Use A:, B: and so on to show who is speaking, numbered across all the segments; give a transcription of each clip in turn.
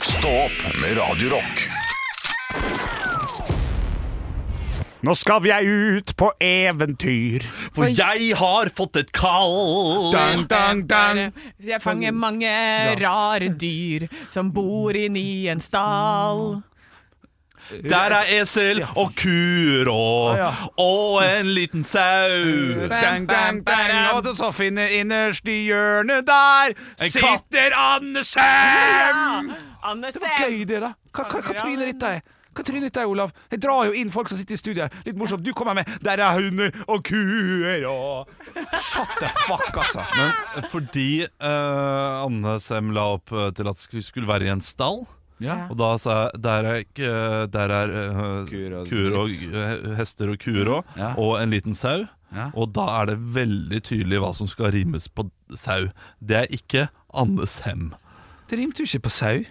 A: Stå opp med Radio Rock.
B: Nå skal jeg ut på eventyr.
A: For jeg har fått et kall.
B: Dang, dang, dang.
C: Jeg fanger mange rare dyr som bor inni en stall.
A: Der er esel og
B: Ja,
A: kurå
B: ja.
A: og en liten sau.
B: Dang, dang, dang. Og du så finner innerst i hjørnet der
A: En katt.
B: sitter Anne Sem!
C: Anne
B: Det var gøy, det, da. Hva, hva, hva trynet ditt er? Hva trynet ditt er, Olav? Jeg drar jo inn folk som sitter i studio. her. Litt morsomt. Du kommer med 'Der er hunder og kuer' og Shut the fuck, altså.
D: Men fordi eh, Anne Sem la opp eh, til at vi skulle være i en stall
B: Ja.
D: Og da sa jeg der er, ikke, eh, der er eh,
B: Kuer og
D: kuer og eh, hester og kuer òg,
B: Ja.
D: og en liten sau.
B: Ja.
D: Og da er det veldig tydelig hva som skal rimes på sau. Det er ikke Anne Sem.
B: Det rimte jo ikke på sau.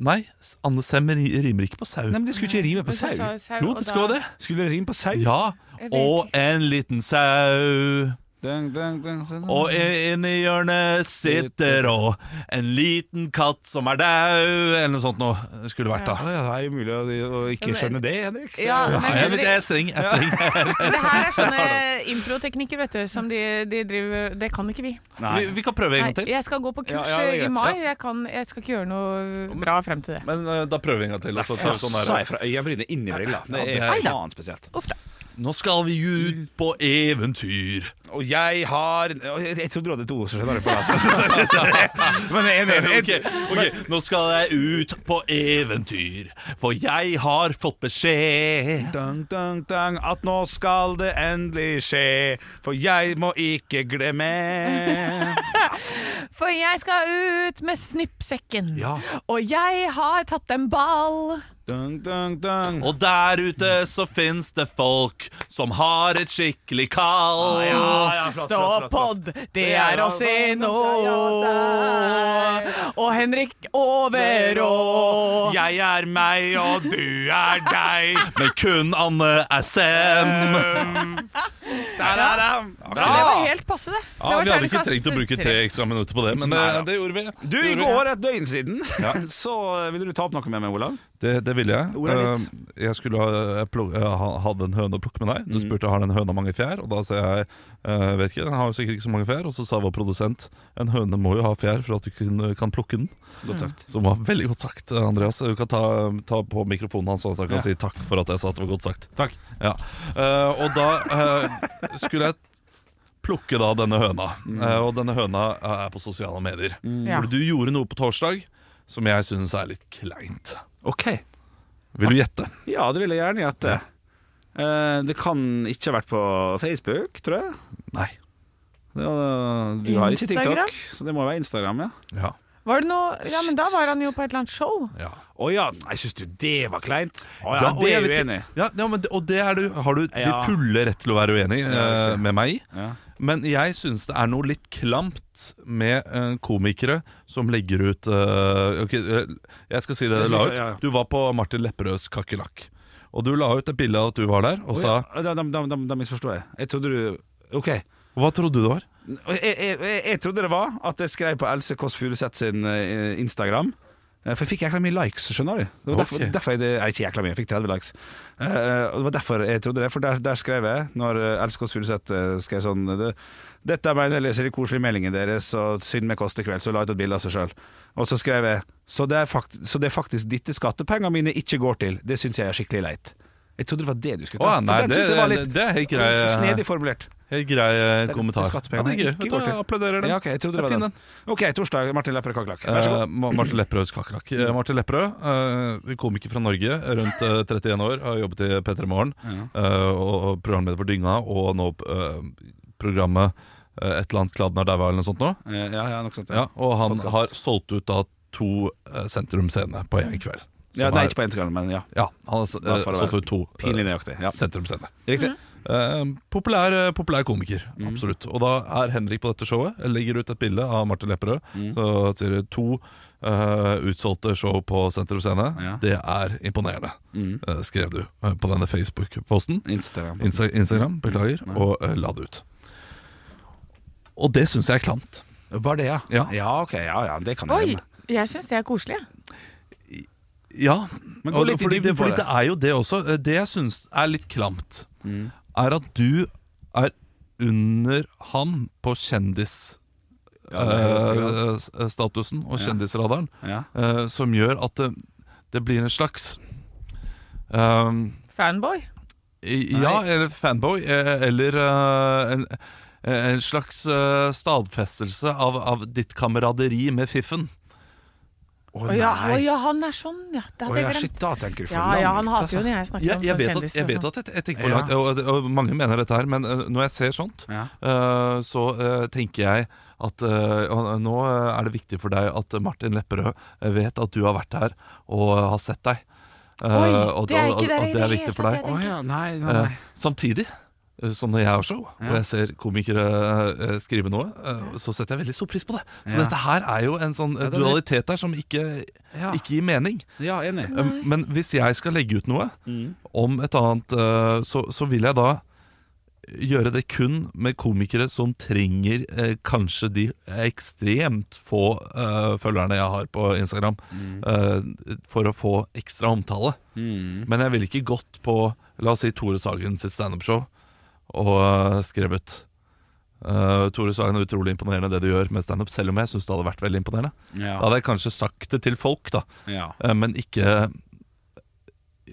D: Nei, s- Anne Sem ri- rimer ikke på sau.
B: Nei, men Det skulle ikke rime på sau.
D: jo, det skal det.
B: Skulle det rime på sau?
D: Ja.
C: Jeg vet
D: Og en liten sau.
B: Dang, dang, dang, dang.
D: Og
C: Mm.
D: inni hjørnet sitter og en liten katt som er dau, eller noe sånt noe skulle vært, da.
B: ja, det er umulig å, å ikke skjønne det, Henrik.
C: Ja, men
D: Nei, jeg, vet, jeg
C: skjønner,
D: er streng. Jeg er streng.
C: det her er sånne improteknikker, vet du, som de, de driver Det kan ikke vi.
D: Vi, vi kan prøve en
C: Nei,
D: gang til.
C: jeg skal gå på kurs
B: Ja, ja, det er
C: i
B: greit,
C: mai. Jeg, kan, jeg skal ikke gjøre noe bra frem til det.
D: Men eh, da prøver vi en gang til. og så tar vi sånn
B: Sa
D: her.
B: jeg fra øyenbrynet inn i brilla. Det
D: det
B: er
D: er-
B: faen spesielt.
D: Nå skal vi ut på eventyr.
B: Og jeg har og Jeg, jeg trodde du hadde et ord, så skjønner jeg på det. Men jeg er enig.
D: Ok, ok, Nå skal jeg ut på eventyr, for jeg har fått beskjed.
B: Dang, dang, dang, at nå skal det endelig skje, for jeg må ikke glemme.
C: For jeg skal ut med snippsekken,
B: Ja.
C: og jeg har tatt en ball.
B: Dang, dang, dang.
D: Og der ute så fins det folk som har et skikkelig kall.
C: Ståpod, det er oss i nå. Og Henrik Overå.
B: Jeg er meg, og du er deg.
D: Men kun Anne er Sem.
B: Da-da-dam.
C: Det var
B: Bra!
C: helt passe, det. Det
D: Ja, Vi
C: var
D: hadde ikke
C: terningkast
D: trengt å bruke tre ekstra minutter på det, men det,
B: Nei,
D: det gjorde vi.
B: Du, i går, et døgn siden, så ville du ta opp noe med meg, Olav.
D: Det, det ville jeg.
B: Ordet er ditt.
D: Eh, Jeg skulle ha, jeg pluk- jeg ha- hadde en høne å plukke med deg.
B: Mm.
D: Du spurte har den høna mange fjær, og da sa jeg eh, vet ikke, den har jo sikkert ikke så mange fjær. Og så sa vår produsent en høne må jo ha fjær for at du kun, kan plukke den.
B: Godt sagt.
D: Som var veldig godt sagt, Andreas. Du kan ta, ta på mikrofonen hans, sånn at han kan
B: Ja.
D: si takk for at jeg sa at det var godt sagt.
B: Takk.
D: Ja. Eh, og da eh, skulle jeg plukke da denne høna. Eh, og denne høna eh, er på sosiale medier.
C: Ja.
D: For du gjorde noe på torsdag som jeg syns er litt kleint.
B: OK.
D: Vil du gjette?
B: Ja, det vil jeg gjerne gjette. Eh, det kan ikke ha vært på Facebook, tror jeg.
D: Nei.
B: Det var, du har ikke
C: Instagram?
B: TikTok, så det må være Instagram, ja.
D: Ja.
C: Var det noe Ja, men da var han jo på et eller annet show.
D: Ja.
B: Å ja, nei, syns du det var kleint? Å ja,
D: Ja, og
B: det
D: jeg
B: er
D: vet
B: du
D: ikke-
B: enig i.
D: Ja, ja, men det, og det er du, har du de
B: Ja.
D: fulle rett til å være uenig
B: Ja,
D: eh, med meg i.
B: Ja.
D: Men jeg syns det er noe litt klamt med eh, komikere som legger ut eh, Ok, eh, jeg skal si det
B: Jeg
D: du la
B: synes-
D: ut.
B: ja, ja.
D: Du var på Martin Lepperøds kakerlakk. Og du la ut et bilde av at du var der, og
B: Å
D: sa
B: ja, Da, da, da, da, da misforstår jeg. Jeg trodde du OK.
D: Hva trodde du det var?
B: Jeg, jeg, jeg, jeg trodde det var at jeg skrev på Else Kåss Furuseth sin eh, Instagram. Eh, For jeg fikk jækla mye likes, skjønner du. Det var derfor,
D: Ok.
B: derfor jeg, nei, ikke jækla mye, jeg fikk 30 likes. Eh, og det var derfor jeg trodde det. For der, der skrev jeg, når eh, Else Kåss Furuseth eh, skrev sånn det, Dette er meg når jeg leser de koselige meldingene deres, og synd meg koster kveld, så la jeg ut et bilde av seg sjøl. Og så skrev jeg så det, er fakt så det er faktisk dette skattepengene mine ikke går til. Det syns jeg er skikkelig leit. Jeg trodde det var det du skulle
D: Å
B: ta.
D: ja, nei,
B: for den
D: det,
B: synes jeg var
D: det,
B: litt
D: det er helt grei, eh,
B: snedig formulert.
D: helt grei eh,
B: Det er-
D: kommentar.
B: det er skattepengene
D: Ja, det er gøy.
B: ikke går
D: Vet du,
B: til.
D: jeg applauderer den.
B: Ja, ok, jeg trodde det var
D: fin,
B: den. Ok, torsdag, Martin Lepperød Kakerlakk. Vær så
D: Eh,
B: god.
D: Ma- Martin Lepperøds kakerlakk. Eh, Martin Lepperød, eh, komiker fra Norge, rundt eh, 31 år, har jobbet i P3 Morgen. eh, og og programleder for Dynga, og nå eh, programmet eh, Et eller annet Kladden er daua, eller noe sånt nå.
B: Eh, Ja, ja, nok sånt.
D: Ja, og han
B: Podcast.
D: har solgt ut da to eh, sentrumscener på én kveld. Som
B: Ja, nei,
D: er-
B: ikke på en gang, men ja.
D: ja, han har s-
B: Bare for å
D: eh, stått
B: være
D: for to
B: Pinlig nøyaktig. Ja.
D: sentrumscener.
B: Riktig.
D: Eh, populær, eh, populær komiker,
B: Mhm.
D: absolutt. Og da er Henrik på dette showet. Legger ut et bilde av Martin Lepperød.
B: Mhm.
D: Så sier det to eh, utsolgte show på Senter Scene.
B: Ja.
D: Det er imponerende,
C: Mm.
D: eh, skrev du eh, på denne Facebook-posten.
B: Mm. Instagram.
D: Insta Instagram, beklager, og eh, la det ut. Og det syns jeg er klamt.
B: Bare det, ja.
D: Ja.
B: Ja, ok, ja, ja, det kan jeg
C: Oi,
B: glemme.
C: jeg syns det er koselig. jeg.
D: Ja,
B: Men gå
D: og,
B: litt i
D: fordi,
B: dybden
D: det,
B: på
D: fordi
B: det.
D: det er jo det også. Eh, Det jeg syns er litt klamt,
B: Mm.
D: er at du er under han på kjendisstatusen
B: Ja, det høres til alt.
D: eh, statusen og
B: Ja.
D: kjendisradaren,
B: Ja.
D: eh, som gjør at det, det blir en slags um,
C: Fanboy.
D: i- Ja, eller fanboy, eh, eller eh, en, eh, en slags eh, stadfestelse av, av ditt kameraderi med fiffen.
B: Å
C: Å ja, å ja, han er sånn, ja. Det
B: Å
C: hadde
B: ja,
C: jeg
B: shit,
C: glemt.
B: da tenker du for
C: Ja,
B: langt.
C: ja, han hater jo
B: altså.
C: når jeg snakker
D: Jeg,
C: om
D: jeg,
C: sånn
D: vet at, jeg
C: kjendiser.
D: vet
C: og sånn.
D: at jeg, jeg tenker for
B: Ja.
D: langt, og, og, og mange mener dette her, men eh, når jeg ser sånt,
B: Ja.
D: eh, så eh, tenker jeg at eh, og nå eh, er det viktig for deg at Martin Lepperød eh, vet at du har vært her og har sett deg. Eh,
C: Oi,
D: og,
C: det er ikke
D: og,
C: det
D: og,
C: i
D: og det er
C: det
D: viktig
C: hele
D: for
C: tatt,
D: deg.
B: Å ja, nei, nei,
D: Eh,
B: nei.
D: samtidig, eh, som når jeg har show, og jeg ser komikere eh, skrive noe, eh, så setter jeg veldig stor pris på det. Så
B: Ja.
D: dette her er jo en sånn eh,
B: Ja, den er-
D: dualitet her som ikke,
B: Ja.
D: ikke gir mening.
B: Eh, Ja, enig.
D: Um, Men hvis jeg skal legge ut noe
B: Mm.
D: om et annet, eh, så, så vil jeg da gjøre det kun med komikere som trenger eh, kanskje de ekstremt få eh, følgerne jeg har på Instagram,
B: Mm.
D: eh, for å få ekstra omtale.
B: Mm,
D: Men jeg ville ikke gått på, la oss si, Tore Sagen sitt standup-show og eh, skrevet eh, Tore Sagen er utrolig imponerende det du gjør med standup, selv om jeg syns det hadde vært veldig imponerende. Da
B: Ja.
D: hadde jeg kanskje sagt det til folk, da.
B: ja.
D: Eh, Men ikke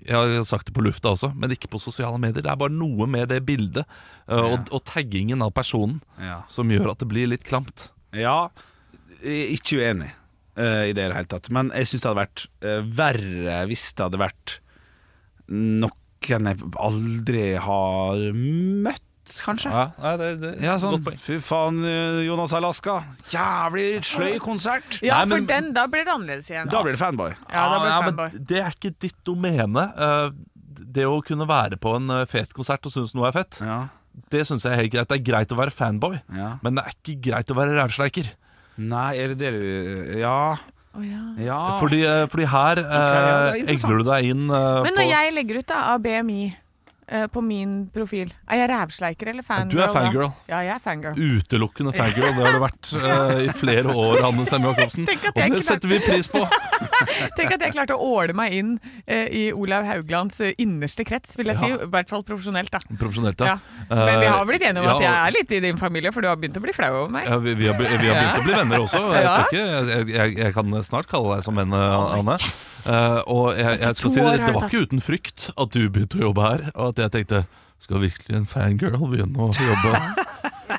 D: Jeg har sagt det på lufta også, men ikke på sosiale medier. Det er bare noe med det bildet eh, og, og taggingen av personen
B: ja.
D: som gjør at det blir litt klamt.
B: Ja, jeg er ikke uenig eh, i det i det hele tatt. Men jeg syns det hadde vært eh, verre hvis det hadde vært noen jeg aldri har møtt, kanskje. Ja.
D: det,
B: sånn Fy faen, eh, Jonas Alaska. Jævlig sløy konsert!
C: Ja,
D: Nei,
C: for
D: men- Ah,
C: den, da blir det annerledes igjen.
B: Da blir det fanboy.
C: Ja, da blir det fanboy.
D: men det er ikke ditt domene. Eh, Det å kunne være på en eh, fet konsert og synes noe er fett,
B: Ja,
D: det syns jeg er helt greit. Det er greit å være fanboy,
B: ja.
D: men det er ikke greit å være rævsleiker.
B: Nei, er det det du Ja.
C: Å, ja.
B: ja.
D: Fordi, eh, fordi her
B: Ah.
D: eh,
B: ja, det er
D: egler du deg inn eh,
C: Men
D: på
C: når jeg legger ut da, av BMI eh, på min profil, er jeg rævsleiker eller fangirl?
D: Du er
C: da?
D: fangirl.
C: Ja, jeg er fangirl.
D: Utelukkende fangirl, det har det vært eh, i flere år, Hanne Stemme Jacobsen.
C: Tenk at
D: Og
C: jeg
D: det
C: ikke
D: setter vi pris på.
C: Tenk at jeg klarte å åle meg inn eh, i Olav Hauglands eh, innerste krets, vil jeg si.
D: Ja.
C: I hvert fall profesjonelt, da.
D: Profesjonelt,
C: Ja.
D: ja.
C: Men vi har blitt enige om
D: ja,
C: at jeg
D: og-
C: er litt i din familie, for du har begynt å bli flau over meg.
D: Eh, Ja, vi, vi, har, be- vi har begynt å bli venner også. Jeg,
C: Ja.
D: skal ikke, jeg, jeg, jeg kan snart kalle deg som venn, eh, Anne. Eh, og jeg, jeg skal
C: to
D: si
C: år
D: det,
C: har
D: det
C: det
D: var ikke uten frykt at du begynte å jobbe her, og at jeg tenkte skal virkelig en fangirl begynne å jobbe?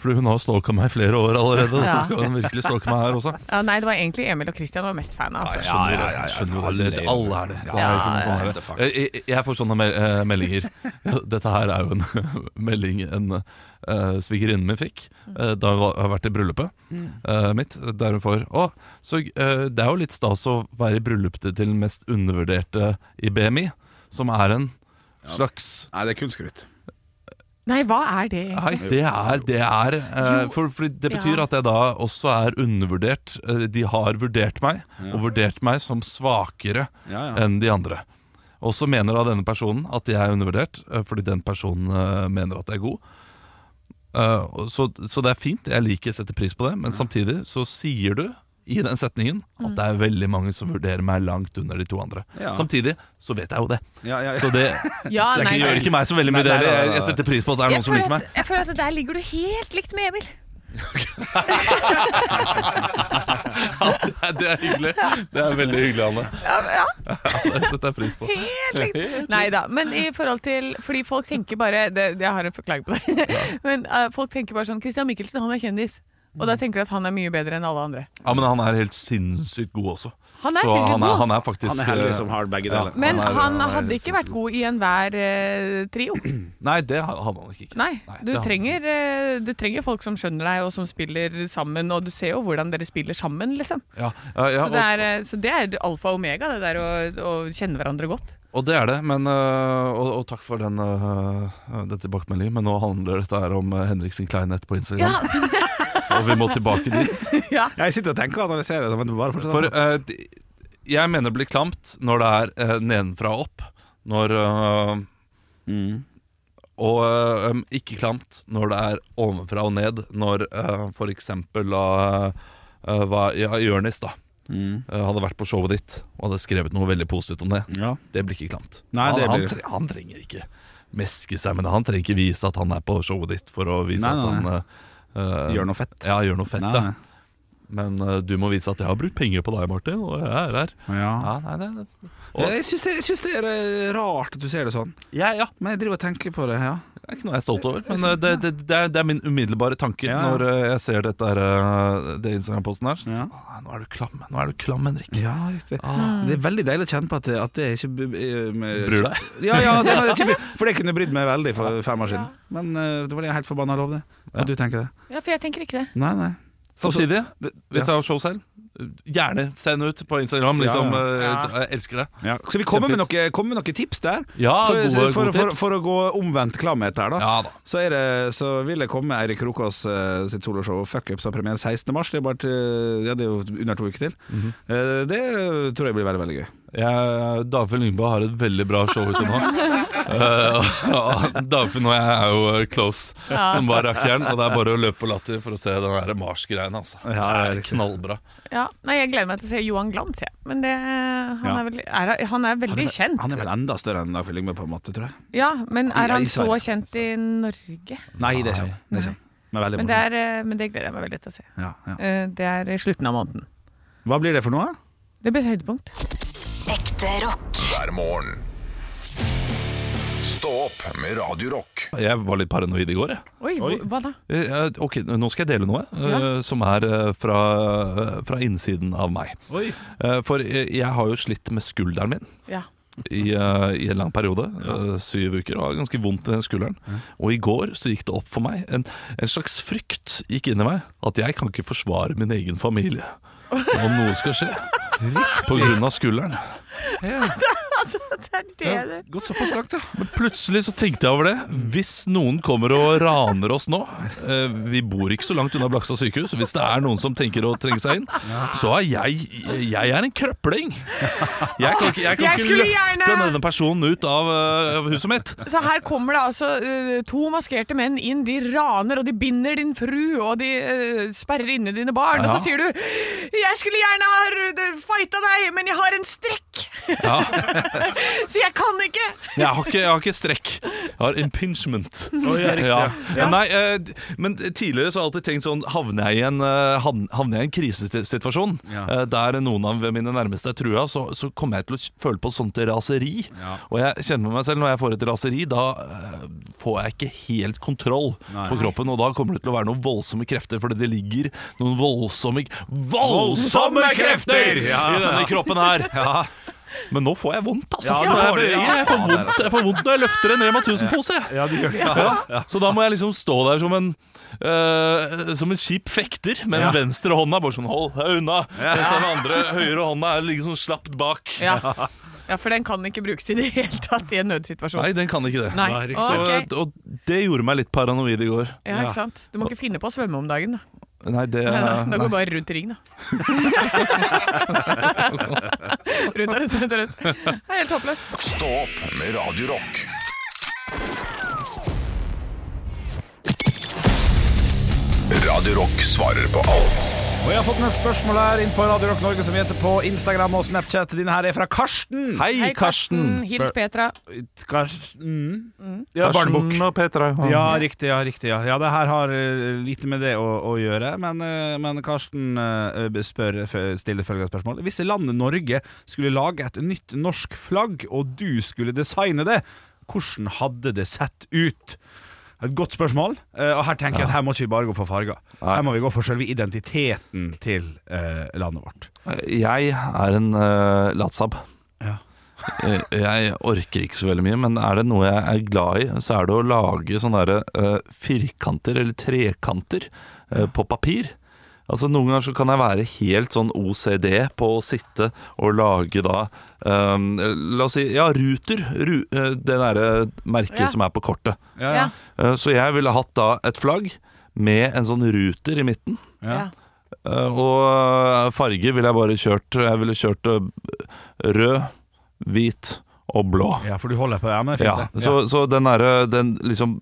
D: Fordi hun har stalka meg i flere år allerede, så
C: Ja.
D: skal hun virkelig stalke meg her også.
C: Ja, nei, det var egentlig Emil og Christian var mest fan av.
D: Ja, jeg
C: Altså.
D: skjønner, det, jeg skjønner jo det. Alle er det. det er jo ikke noe sånn her.
B: the fuck.
D: jeg, jeg- jeg får sånne mel- eh, meldinger. Dette her er jo en melding en eh, svigerinnen min fikk eh, da hun var- har vært i bryllupet eh, mitt. Der hun får Å, så eh, det er jo litt stas å være i bryllupet til den mest undervurderte i BMI, som er en slags
B: Nei, det er kun skryt.
C: Nei, hva er det? egentlig?
D: Nei, det er, det er eh, for, for Det betyr
C: Ja.
D: at jeg da også er undervurdert. Eh, De har vurdert meg, og vurdert meg som svakere
B: Ja, ja.
D: enn de andre. Og så mener da denne personen at jeg er undervurdert, eh, fordi den personen eh, mener at jeg er god. Eh, og så, så det er fint, jeg liker å sette pris på det, men samtidig så sier du i den setningen
C: Mm.
D: at det er veldig mange som vurderer meg langt under de to andre.
B: Ja.
D: Samtidig så vet jeg jo det.
B: Ja, ja, ja.
D: Så det,
C: Ja,
D: så det
C: Ah, nei,
D: gjør
C: nei.
D: ikke meg så veldig mye
B: Nei, nei,
D: bedre.
B: nei, nei,
D: Jeg- Jeg setter pris på at det er
C: Jeg
D: noen som
C: føler,
D: liker meg.
C: at, jeg føler at der ligger du helt likt med Emil.
D: Ja, det er hyggelig. Det er veldig hyggelig, Anne.
C: Ja, ja.
D: Det setter jeg pris på.
C: Helt likt. Nei da. Men i forhold til Fordi folk tenker bare det, Jeg har en forklaring på det. Men eh, folk tenker bare sånn Christian Michelsen, han er kjendis. Og
D: Mm.
C: da tenker du at han er mye bedre enn alle andre.
D: Ja, men han er helt sinnssykt god også.
C: Han er
D: så
C: sinnssykt
D: han er,
C: god.
D: han er faktisk
B: Han er heldig
D: eh,
B: som har begge
D: ja.
B: deler.
C: Men
D: Han er-
C: han,
B: han er
C: hadde
B: helt
C: ikke vært
B: sinnssykt
C: god i enhver eh, trio.
D: Nei, det har- hadde han nok ikke.
C: Nei, du
D: det hadde han
C: trenger, eh, du trenger folk som skjønner deg, og som spiller sammen. Og du ser jo hvordan dere spiller sammen, liksom.
D: ikke. Ja, ja, ja,
C: Så det
D: og-
C: er, eh, så det er alfa og omega, det der å, å kjenne hverandre godt.
D: Og det er det, men, øh, og, og takk for den, øh, den tilbakemeldingen. Men nå handler dette her om øh, Henrik sin kleinhet på Instagram. og vi må tilbake dit.
C: ja.
B: Jeg sitter og tenker og analyserer det, men bare fortsett.
D: For øh, de- jeg mener det blir klamt når det er øh, nedenfra og opp. Når øh,
B: Mm.
D: Og øh, øhm, ikke klamt når det er ovenfra og ned. Når øh, for eksempel uh, hva, ja, Jørnis da
B: Mm.
D: øh, hadde vært på showet ditt og hadde skrevet noe veldig positivt om det.
B: Ja.
D: Det blir ikke klamt.
B: Nei,
D: han,
B: det
D: han,
B: blir-
D: tre, han trenger ikke meske seg, men han trenger ikke vise at han er på showet ditt for å vise
B: Nei, nei,
D: at han eh, eh,
B: Gjør noe fett.
D: Ja, gjør noe fett,
B: Nei,
D: ja. Men eh, du må vise at jeg har brukt penger på deg, Martin, og jeg er her.
B: nei. Ja.
D: Ja, nei, det,
B: Og- Jeg syns det, jeg syns det er eh, rart at du ser det sånn,
D: ja, ja,
B: men jeg driver og tenker på det. ja
D: det er ikke noe jeg er stolt over, men eh, det, det, det, er, det er min umiddelbare tanke
B: Ja, ja.
D: når eh, jeg ser dette her, eh, det Instagram-posten her. Så,
B: Ja.
D: «Nei, nå er du klam, nå er du klam, Henrik.
B: Ja, riktig.
D: Ah.
B: Det er veldig deilig å kjenne på at det, at det ikke eh, med-
D: Bryr deg.
B: Ja, ja, det var ikke, for det kunne brydd meg veldig for fem år siden. Men eh, det var det jeg helt forbanna lov, det.
D: Ja.
B: At du tenker det.
C: ja, for jeg tenker ikke det.
B: Nei, nei.
D: Samtidig,
B: Det-
D: hvis jeg har show selv, gjerne send ut på Instagram.
B: Ja,
D: Liksom,
B: ja.
D: eh,
C: Ja.
D: Jeg elsker det.
B: Ja. Skal vi komme med, noe, komme med noen tips der?
D: Ja,
B: For,
D: gode, gode
B: for, for, for,
D: tips.
B: for å gå omvendt klamhet her, da.
D: ja da.
B: Så, er det, så vil jeg komme med Eirik Krokås eh, sitt soloshow Fuck Up som har premiere 16. mars. Det er, bare til, ja, det er jo under to uker til. Eh, Det tror jeg blir veldig, veldig gøy.
D: Jeg, Dagfinn Lyngbø har et veldig bra show ute nå. Eh, Dagfinn og jeg er jo eh, close som bare rakkeren, og det er bare å løpe på latter for å se den der Mars-greien. Altså.
B: Ja,
D: det er knallbra.
C: Ja. Nei, jeg gleder meg til å se Johan Glans, jeg. Men det, eh, han,
B: Ja.
C: er vel, er, han er veldig kjent.
B: Han er vel enda større enn Dagfinn Lyngbø, på en måte, tror jeg.
C: Ja, men er
B: Ja, i
C: han så
B: Sverige.
C: kjent i Norge?
B: Nei, det er sant. Det er sant. Men veldig
C: Men det,
B: morsomt.
C: er, eh, men det gleder jeg meg veldig til å se.
B: Ja, ja.
C: Eh, Det er i slutten av måneden.
B: Hva blir det for noe?
C: Det blir et høydepunkt.
E: Ekte rock.
A: hver morgen. Stå opp med Radio Rock.
D: Jeg var litt paranoid i går, jeg.
C: Oi,
F: Oi.
C: hvor- hva da?
D: Eh, Ok, nå skal jeg dele noe eh,
C: Ja.
D: som er eh, fra, eh, fra innsiden av meg.
F: Oi.
D: Eh, For eh, jeg har jo slitt med skulderen min.
C: Ja.
D: i, eh, i en lang periode. eh, syv uker. Og har ganske vondt i den skulderen. Og i går så gikk det opp for meg. En, en slags frykt gikk inn i meg. At jeg kan ikke forsvare min egen familie om noe skal skje. På grunn av skulderen.
C: Altså, det er det det
B: Gått såpass langt, ja.
D: Men plutselig så tenkte jeg over det. Hvis noen kommer og raner oss nå eh, Vi bor ikke så langt unna Blakstad sykehus. Hvis det er noen som tenker å trenge seg inn, så er jeg Jeg er en krøpling. Jeg kan ikke, jeg kan
C: Jeg
D: ikke
C: skulle
D: løfte
C: gjerne-
D: denne personen ut av eh, av huset mitt.
C: Så her kommer det altså eh, to maskerte menn inn. De raner, og de binder din fru, og de eh, sperrer inne dine barn. Og
D: Ja.
C: så sier du 'Jeg skulle gjerne ha eh, fighta deg, men jeg har en strekk,
D: Ja.
C: så jeg kan ikke'.
D: Jeg har ikke, jeg har ikke strekk. Jeg har impingement.
B: ja, riktig, ja.
D: Ja. Nei, eh, d- men tidligere så har jeg alltid tenkt sånn Havner jeg i en, eh, havn- havner jeg i en krisesituasjon
B: Ja.
D: eh, der noen av mine nærmeste er trua, så, så kommer jeg til å føle på et sånt raseri.
B: Ja.
D: Og jeg kjenner med meg selv når jeg får et raseri, da eh, får jeg ikke helt kontroll
B: Nei.
D: på kroppen. Og da kommer det til å være noen voldsomme krefter, fordi det ligger noen voldsomme Voldsomme krefter
B: Ja,
D: i denne kroppen her. Ja. Men nå får jeg vondt, altså.
B: Ja,
D: jeg,
B: nå får
D: får
B: du- ja.
D: jeg, får vondt, jeg får vondt når jeg løfter en Rema 1000-pose. jeg.
B: Ja, du gjør det.
D: Ja. Så da må jeg liksom stå der som en eh, Som en kjip fekter, men
B: Ja.
D: venstre hånda er bare sånn hold deg unna. Mens den andre høyre hånda er liksom sånn slapt bak.
C: Ja. ja, for den kan ikke brukes i det hele tatt i en nødsituasjon.
D: Nei, den kan ikke det.
C: Nei. Nei,
D: Så,
C: ok.
D: Og det gjorde meg litt paranoid i går.
C: Ja, ikke sant? Du må ikke finne på å svømme om dagen. Da,
D: Nei, det
C: nei, da, da
D: nei.
C: går du bare rundt i ring, da. rundt og rundt og rundt. og rundt. Det er helt håpløst.
A: Stå opp med Radio Rock. Radio Rock svarer på alt.
B: Og jeg har fått med et spørsmål her inn på Radio Rock Norge som vi heter på Instagram og Snapchat. Din her er fra Karsten.
D: Hei, Karsten.
C: Hils Petra.
B: Karsten Mm. Ja, barnebok.
D: og Petra.
B: Ja, riktig, ja, riktig. Ja, ja det her har eh, lite med det å, å gjøre, men, eh, men Karsten eh, spør, f- stiller følgende spørsmål. Hvis landet Norge skulle lage et nytt norsk flagg, og du skulle designe det, hvordan hadde det sett ut? Et godt spørsmål, eh, og her tenker jeg at her må ikke vi bare gå for farger.
D: Nei.
B: Her må vi gå for selve identiteten til eh, landet vårt.
D: Jeg er en uh, latsabb.
B: Ja.
D: Eh, jeg orker ikke så veldig mye, men er det noe jeg er glad i, så er det å lage sånne der, eh, firkanter eller trekanter eh, på papir. Altså Noen ganger så kan jeg være helt sånn OCD på å sitte og lage da ehm, La oss si ja, ruter. Ru, eh, det derre merket
C: Ja.
D: som er på kortet.
B: Ja,
C: Ja.
D: Eh, så jeg ville hatt da et flagg med en sånn ruter i midten.
B: Ja.
C: Ja.
D: Eh, Og farge ville jeg bare kjørt Jeg ville kjørt eh, rød, hvit og blå.
B: ja, for du holder på ja, men det er
D: Ja,
B: fint, det.
D: så, så den derre den liksom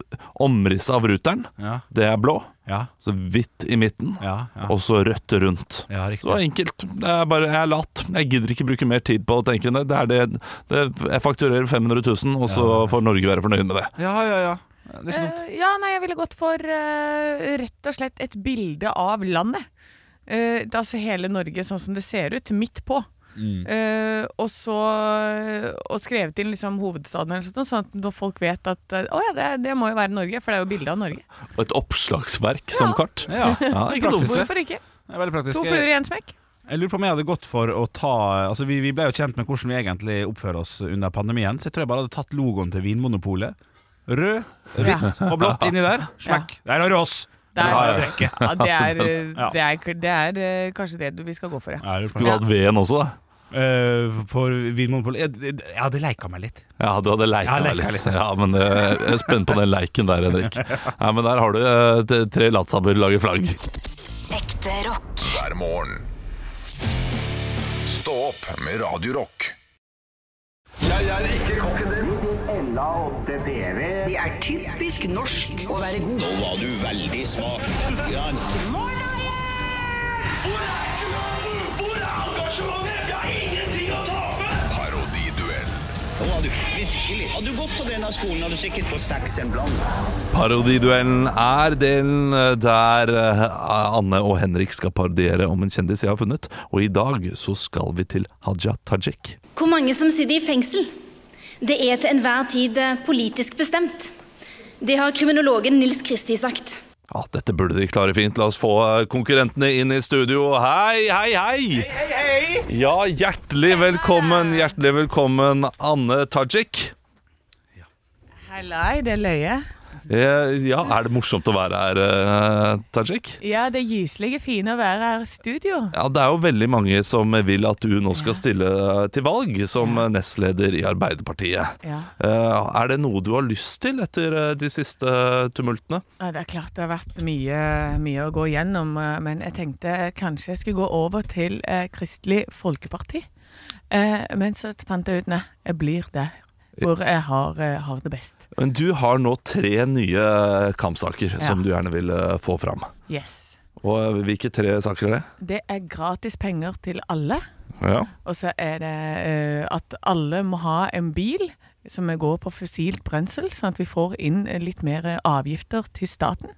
D: omrisset av ruteren,
B: ja,
D: det er blå.
B: ja,
D: Så hvitt i midten,
B: ja, ja,
D: og så rødt rundt.
B: ja,
D: Så
B: riktig.
D: enkelt. Det er bare, jeg er lat. Jeg gidder ikke bruke mer tid på å tenke det. det, er det, det jeg fakturerer 500 000, og så får Norge være fornøyd med det.
B: Ja, ja, ja. Det er ikke dumt.
C: Eh, ja, nei, jeg ville gått for eh, rett og slett et bilde av landet. Eh, det er altså hele Norge sånn som det ser ut, midt på.
B: Mm.
C: Eh, og så eh, Og skrevet inn liksom hovedstaden eller sånt, sånn at når folk vet at eh, Å ja, det, det må jo være Norge, for det er jo bilde av Norge.
D: Og et oppslagsverk som kart.
B: Ja,
D: Ja,
B: ikke dumt.
D: det.
C: Hvorfor ikke?
B: Det er veldig praktisk.
C: To fluer i én smekk.
B: Jeg lurer på om jeg hadde gått for å ta Altså Vi, vi ble jo kjent med hvordan vi egentlig oppfører oss under pandemien, så jeg tror jeg bare hadde tatt logoen til Vinmonopolet. Rød
C: Ja.
B: og blått inni der. Smekk. Der har du oss!
C: Det
B: Ja,
C: er,
B: ja,
C: ja, det er,
B: Ja.
C: eh, det er, det er eh, kanskje det du- vi skal gå for, ja.
D: Skulle hatt veden også, da.
B: Eh, for Vinmonopolet Jeg, jeg hadde leika meg litt.
D: Ja, du hadde leika
B: Ja,
D: deg
B: leika
D: litt.
B: litt.
D: Ja, men eh, Jeg er spent på den leiken der, Henrik. Ja, men Der har du eh, t- tre latsabber lager flagg.
E: Ekte rock.
A: hver morgen. Stå opp med Radio Rock.
G: Det er typisk norsk å være god.
H: Nå var du veldig smak.
I: Hvor er engasjementet? Jeg har ingenting å tape!
A: Parodiduell
H: Nå var du virkelig. Hadde du gått på denne skolen, hadde du sikkert fått seks en blant.
D: Parodiduellen er delen eh, der eh, Anne og Henrik skal parodiere om en kjendis jeg har funnet. Og i dag så skal vi til Haja Tajik.
J: Hvor mange som sitter i fengsel? Det er til enhver tid eh, politisk bestemt. Det har kriminologen Nils Kristi sagt.
D: Ja, Dette burde de klare fint. La oss få eh, konkurrentene inn i studio. Hei, hei, hei! Ja, hjertelig velkommen, hjertelig velkommen, Anne Tajik.
C: Hellei, det er løye.
D: Eh, Ja, er det morsomt å være her, eh, Tajik?
C: Ja, det er gyselig fint å være her i studio.
D: Ja, Det er jo veldig mange som vil at du nå skal stille til valg som nestleder i Arbeiderpartiet.
C: Ja.
D: Eh, Er det noe du har lyst til etter eh, de siste tumultene?
C: Ja, det er klart det har vært mye, mye å gå gjennom, eh, men jeg tenkte eh, kanskje jeg skulle gå over til eh, Kristelig Folkeparti. Eh, men så fant jeg ut nei, jeg blir der hvor jeg har, eh, har det best.
D: Men du har nå tre nye kampsaker
C: Ja.
D: som du gjerne vil eh, få fram.
C: Yes.
D: Og eh, hvilke tre saker er det?
C: Det er gratis penger til alle,
D: Ja.
C: og så er det eh, at alle må ha en bil som går på fossilt brensel, sånn at vi får inn eh, litt mer eh, avgifter til staten.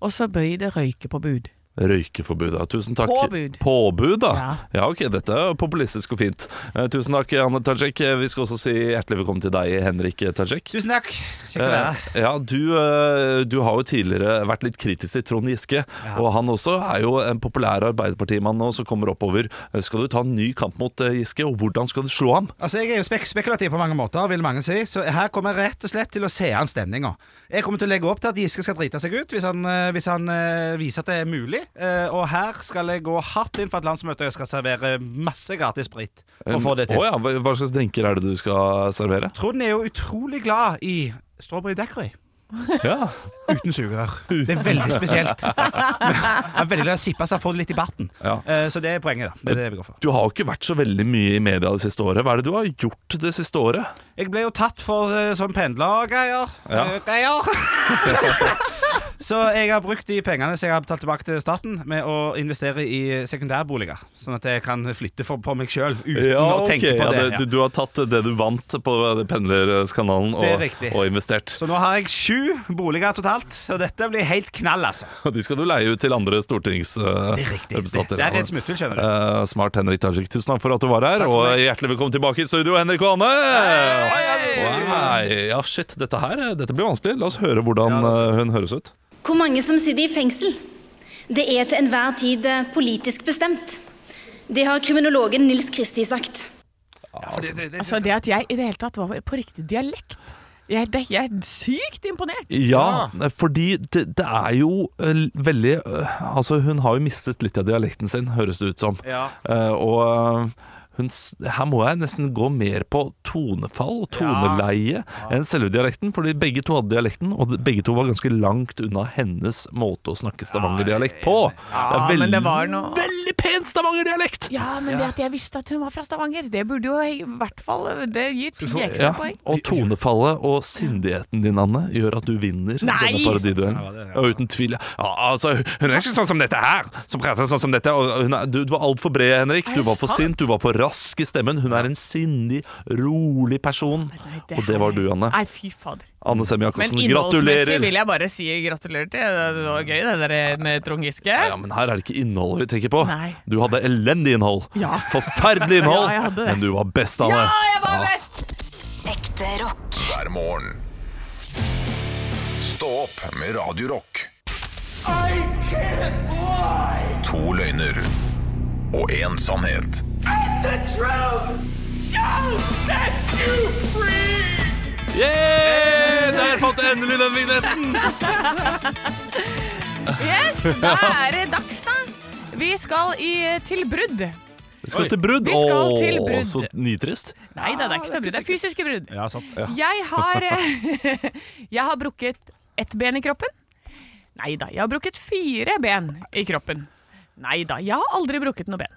C: Og så blir det røykepåbud.
D: Røykeforbud, ja. Tusen takk.
C: Påbud.
D: Påbud, da. Ja. ok, dette er populistisk og fint. Eh, tusen takk, Anne Tajik. Eh, Vi skal også si hjertelig velkommen til deg, Henrik Tajik.
B: Tusen takk. Kjekt
D: Eh, Ja, du, eh, du har jo tidligere vært litt kritisk til Trond Giske. Og han også er jo en populær arbeiderpartimann nå som kommer oppover. Eh, Skal du ta en ny kamp mot eh, Giske, og hvordan skal du slå ham?
B: Altså, Jeg er jo spek spekulativ på mange måter, vil mange si, så her kommer jeg rett og slett til å se an stemninga. Jeg kommer til å legge opp til at Giske skal drite seg ut hvis han, eh, hvis han eh, viser at det er mulig. Eh, og her skal jeg gå hardt inn for et landsmøte, og jeg skal servere masse gratis sprit for å få det til.
D: Um, Å ja, hva hva slags drinker er det du skal servere?
B: Trond er jo utrolig glad i strawberry daiquiri.
D: Ja,
B: Uten sugerør. Det er veldig spesielt. Jeg er veldig glad i å sippe, så jeg får det litt i barten.
D: Ja.
B: Eh, Så det er poenget, da. Det er det vi går for.
D: Du har jo ikke vært så veldig mye i media det siste året. Hva er det du har gjort det siste året?
B: Jeg ble jo tatt for eh, sånn pendlergreier.
D: Ja.
B: Eh, Greier. Så jeg har brukt de pengene som jeg har betalt tilbake til staten, med å investere i sekundærboliger. Sånn at jeg kan flytte for, på meg sjøl uten å
D: ok,
B: tenke på
D: ja,
B: det.
D: det,
B: ja.
D: du, du har tatt det du vant på pendlerkanalen
B: Det er
D: og,
B: riktig.
D: og investert.
B: Så nå har jeg sju boliger totalt, og dette blir helt knall, altså.
D: Og de skal du leie ut til andre
B: Det er riktig.
D: stortingsrepresentanter.
B: Det er rett smutthull, skjønner du.
D: Eh, smart, Henrik Tajik. Tusen takk for at du var her,
B: Takk for
D: og
B: meg.
D: hjertelig velkommen tilbake i studio, Henrik og Anne! Wow. Ja, shit, dette her eh, dette blir vanskelig. La oss høre hvordan eh, hun høres ut.
J: Hvor mange som sitter i fengsel? Det er til enhver tid eh, politisk bestemt. Det har kriminologen Nils Kristi sagt.
C: Altså det at jeg i det hele tatt var på riktig dialekt Jeg, det, jeg er sykt imponert
D: Ja, fordi det, det er jo eh, veldig eh, Altså, hun har jo mistet litt av dialekten sin, høres det ut som.
B: Ja.
D: Eh, og eh, hun, s- her må jeg nesten gå mer på tonefall og toneleie enn selve dialekten, fordi begge to hadde dialekten, og de- begge to var ganske langt unna hennes måte å snakke stavangerdialekt på.
C: Ja,
D: Det er
C: men det
D: veldig-
C: var noe
D: Veldig pen stavangerdialekt!
C: Ja, men det at jeg visste at hun var fra Stavanger Det burde jo i hvert fall Det gir ti
D: Ja,
C: ekstra poeng
D: og tonefallet og sindigheten din, Anne, gjør at du vinner
C: Nei!
D: denne parodiduellen. Ja, uten tvil. Ja, altså, hun er ikke sånn som dette her, som prater sånn som dette. Og hun er, du, du var altfor bred, Henrik.
C: Er
D: Du
C: det
D: var for
C: sant?
D: sint, du var for rask i stemmen. Hun er en sindig, rolig person.
C: Nei,
D: Og det var
C: her-
D: du, Anne.
C: Nei, fy fader
D: Anne Sem
C: Men
D: Jacobsen,
C: innholdsmessig
D: gratulerer!
C: vil jeg bare si gratulerer til Det var gøy det der med Trond Giske
D: Ja, men Her er det ikke innholdet vi tenker på.
C: Nei.
D: Du hadde elendig innhold.
C: Ja.
D: Forferdelig innhold,
C: Ja, jeg hadde det.
D: men du var best,
C: Ja,
D: Anne.
C: jeg var best
E: Ekte rock.
A: hver morgen. Stå opp med Radio Rock. To løgner og én sannhet.
D: Yeah! Der fant jeg endelig den vignetten!
C: Yes, da er det dags da Vi skal i, eh, til brudd
D: Vi skal til brudd.
C: Vi skal
D: Åh,
C: til brudd.
D: Så nytrist.
C: Nei,
D: Ah,
C: det er ikke så brudd, det er fysiske brudd
B: Ja, sant.
C: Jeg har Jeg har brukket ett ben i kroppen. Nei da, jeg har brukket fire ben i kroppen. Nei da, jeg har aldri brukket noe ben.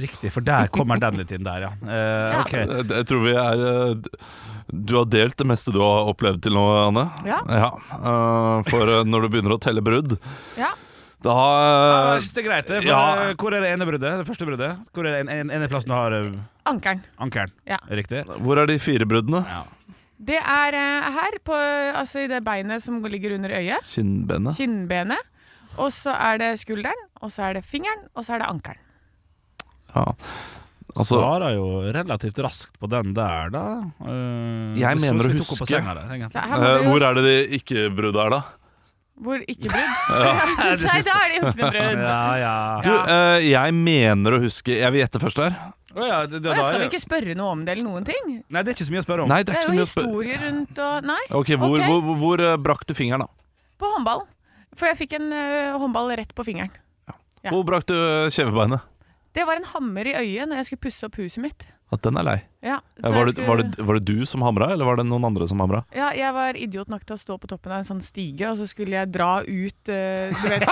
B: Riktig, for der kommer den litt inn der, ja. Eh,
C: Ja.
B: ok.
D: Jeg jeg tror vi er eh, Du har delt det meste du har opplevd til nå, Anne.
C: Ja.
D: eh, For eh, når du begynner å telle brudd,
C: Ja.
D: da
B: Ja,
D: eh,
B: jeg synes det er greit, det, for
D: Ja.
B: eh, Hvor er det ene bruddet? Det første bruddet? Hvor er det en, en, ene plassen du har eh,
C: Ankelen.
B: ankelen?
C: Ja.
B: Riktig?
D: Hvor er de fire bruddene?
C: Det er eh, her, på, altså i det beinet som ligger under øyet.
D: Kinnbenet.
C: Kinnbenet. Og så er det skulderen, og så er det fingeren, og så er det ankelen.
D: Ja. Altså,
B: Svarer jo relativt raskt på den der, da. Eh,
D: Jeg
B: det så
D: mener å
B: ut som vi tok opp på
D: huske.
B: senga der, egentlig.
C: Så her må
D: eh,
C: vi jo-
D: hvor er det de ikke-brudda er, da?
C: Hvor ikke brudd? Nei, da er det huknebrudd.
B: Ja, ja.
D: Du, eh, jeg mener å huske Jeg vil gjette først her.
B: Å ja, det, det,
C: Og
B: da
C: Skal vi
B: er-
C: ikke spørre noe om det eller noen ting?
B: Nei, det er ikke så mye å spørre om.
D: Nei, det
C: Det
D: er
C: er
D: ikke så
C: jo
D: mye å spørre
C: historier rundt og Nei.
D: Ok, hvor,
C: Ok.
D: hvor, hvor eh, brakk du fingeren, da?
C: På håndball. For jeg fikk en ø, håndball rett på fingeren. Ja.
D: Hvor brakk du eh, kjevebeinet?
C: Det var en hammer i øyet når jeg skulle pusse opp huset mitt.
D: At den er lei.
C: Ja, så
D: Eh, Var
C: jeg
D: det, var, det, var det du som hamra, eller var det noen andre som hamra?
C: ja, jeg var idiot nok til å stå på toppen av en sånn stige, og så skulle jeg dra ut eh, Du vet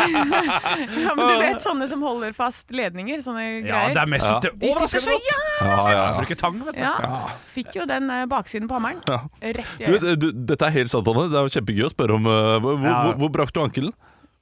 C: Ja, men du vet sånne som holder fast ledninger, sånne
B: Ja,
C: greier.
B: det er mest
D: Ja.
B: det-
C: De sitter
B: overraskende
C: så
B: godt.
D: Ja, ja, ja.
B: Bruker tang, vet du.
C: Ja. Fikk jo den eh, baksiden på hammeren.
D: Ja.
C: Rett i
D: Du,
C: øyet.
D: du, dette er helt sant, Anne. Det er jo kjempegøy å spørre om. eh, hvor,
B: Ja.
D: hvor, hvor brakk du ankelen?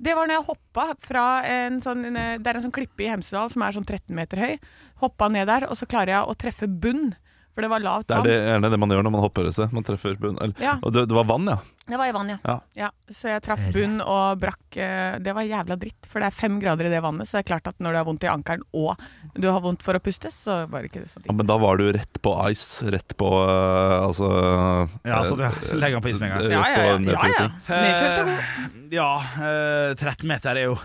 C: Det var når jeg hoppa fra en sånn eh, Det er en sånn klippe i Hemsedal som er sånn 13 meter høy. Hoppa ned der, og så klarer jeg å treffe bunn, for det var lavt
D: Det er
C: vann.
D: det, gjerne det man gjør når man hopper et sted. Man treffer bunn. Eller,
C: Ja.
D: Og det, det var vann, ja.
C: Det var i vann, ja.
D: Ja.
C: ja. så jeg traff bunn og brakk eh, Det var jævla dritt, for det er fem grader i det vannet, så det er klart at når du har vondt i ankelen og du har vondt for å puste, så var det ikke det så
D: ja.
C: digg.
D: Men da var du rett på ice. Rett på eh, Altså
B: Ja, så det- legg han på is med en gang.
D: eh,
C: Ja,
D: Rett
C: ja,
D: på
C: ja. ja, ja.
D: nedfrysing.
C: Nedkjørt og god.
B: Ja, eh, 13 meter er jo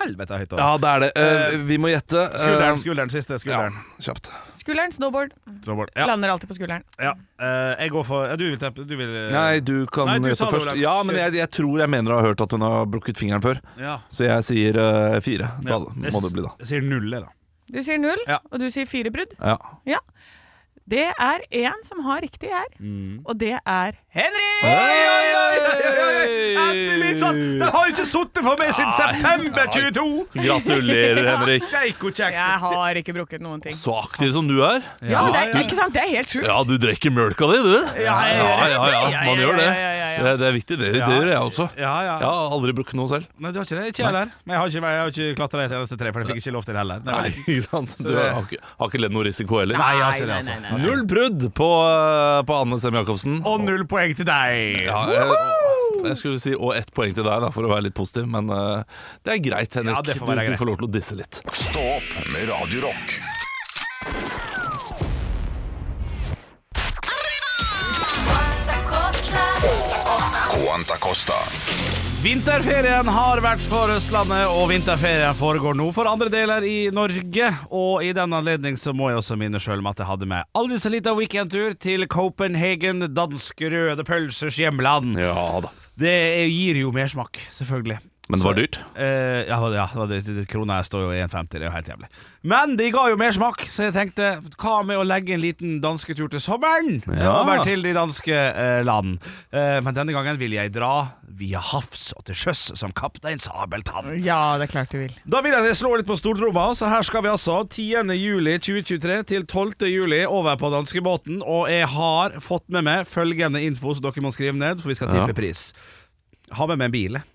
B: helvete høyt.
D: Ja,
B: da.
D: det er det. Eh, vi må gjette. eh,
B: Skulderen, skulderen, siste skulderen.
D: Ja, kjapt.
C: Skulderen, snowboard.
B: Så bort. Ja,
C: Lander alltid på skulderen.
B: ja. Eh, jeg går for ja, Du vil teppe? Du vil eh,
D: Nei, du kan
B: Nei, du sa
D: gjette
B: det,
D: først.
B: Olav.
D: Ja, men jeg, jeg tror jeg mener å ha hørt at hun har brukket fingeren før.
B: Ja.
D: Så jeg sier eh, fire. Da
B: Jeg
D: må det bli, da.
B: s- Jeg sier null, jeg, da.
C: Du sier null,
B: Ja.
C: og du sier fire brudd.
D: Ja.
C: Det er én som har riktig her,
B: Mm.
C: og det er Henrik!
B: Endelig! sant? Den har jo ikke sittet for meg siden september 22!
D: Gratulerer, Henrik.
B: Steiko kjekt!
C: Jeg har ikke brukket noen ting.
D: Så aktiv som du er.
C: Ja, men det er, ikke sant? Det er helt sjukt.
D: Ja, du drikker mjølka di, du.
C: ja, ja,
D: ja, ja,
C: ja,
D: Man
C: ja,
D: gjør
C: ja,
D: det.
C: ja, ja, ja.
D: Det, det er viktig, det, det
B: Ja.
D: gjør jeg også.
B: Ja, ja.
D: Jeg har aldri brukt noe selv.
B: Nei, du har ikke det? Ikke jeg heller. Men jeg har ikke, jeg har ikke klatra et eneste tre, for jeg fikk ikke lov til det heller. Det er
D: Nei,
B: veldig-
D: ikke sant? Du
B: det-
D: har ikke, har ikke ledd noe risiko heller.
B: Nei, jeg har ikke det, altså.
D: Null brudd på, på Anne Sem Jacobsen.
B: Og null poeng til deg!
D: Ja, jeg, jeg skulle si og ett poeng til deg, da, for å være litt positiv, men eh, det er greit, Henrik.
B: Ja, det får
D: du,
B: være greit.
D: du får lov til å disse litt.
A: Stå opp med Radio Rock. Quanta Costa.
B: Vinterferien har vært for Østlandet, og vinterferien foregår nå for andre deler i Norge. Og i den anledning så må jeg også minne sjøl om at jeg hadde med aldri så lita weekendtur til Copenhagen, danske røde pølsers hjemland.
D: Ja da.
B: Det gir jo mersmak, selvfølgelig.
D: Men det var dyrt.
B: Eh, ja, ja det, det, krona står jo i 1,50, det er jo helt jævlig. Men de ga jo mersmak, så jeg tenkte hva med å legge en liten dansketur til sommeren?
D: Ja.
B: Over til de danske eh, land. Eh, men denne gangen vil jeg dra via havs og til sjøs som kaptein Sabeltann.
C: Ja, det er klart du vil.
B: Da vil jeg slå litt på stortromma, så her skal vi altså 10. juli 2023 til 12. juli over på danskebåten, og jeg har fått med meg følgende info som dere må skrive ned, for vi skal
D: Ja.
B: tippe pris. Ha med meg en bil. jeg.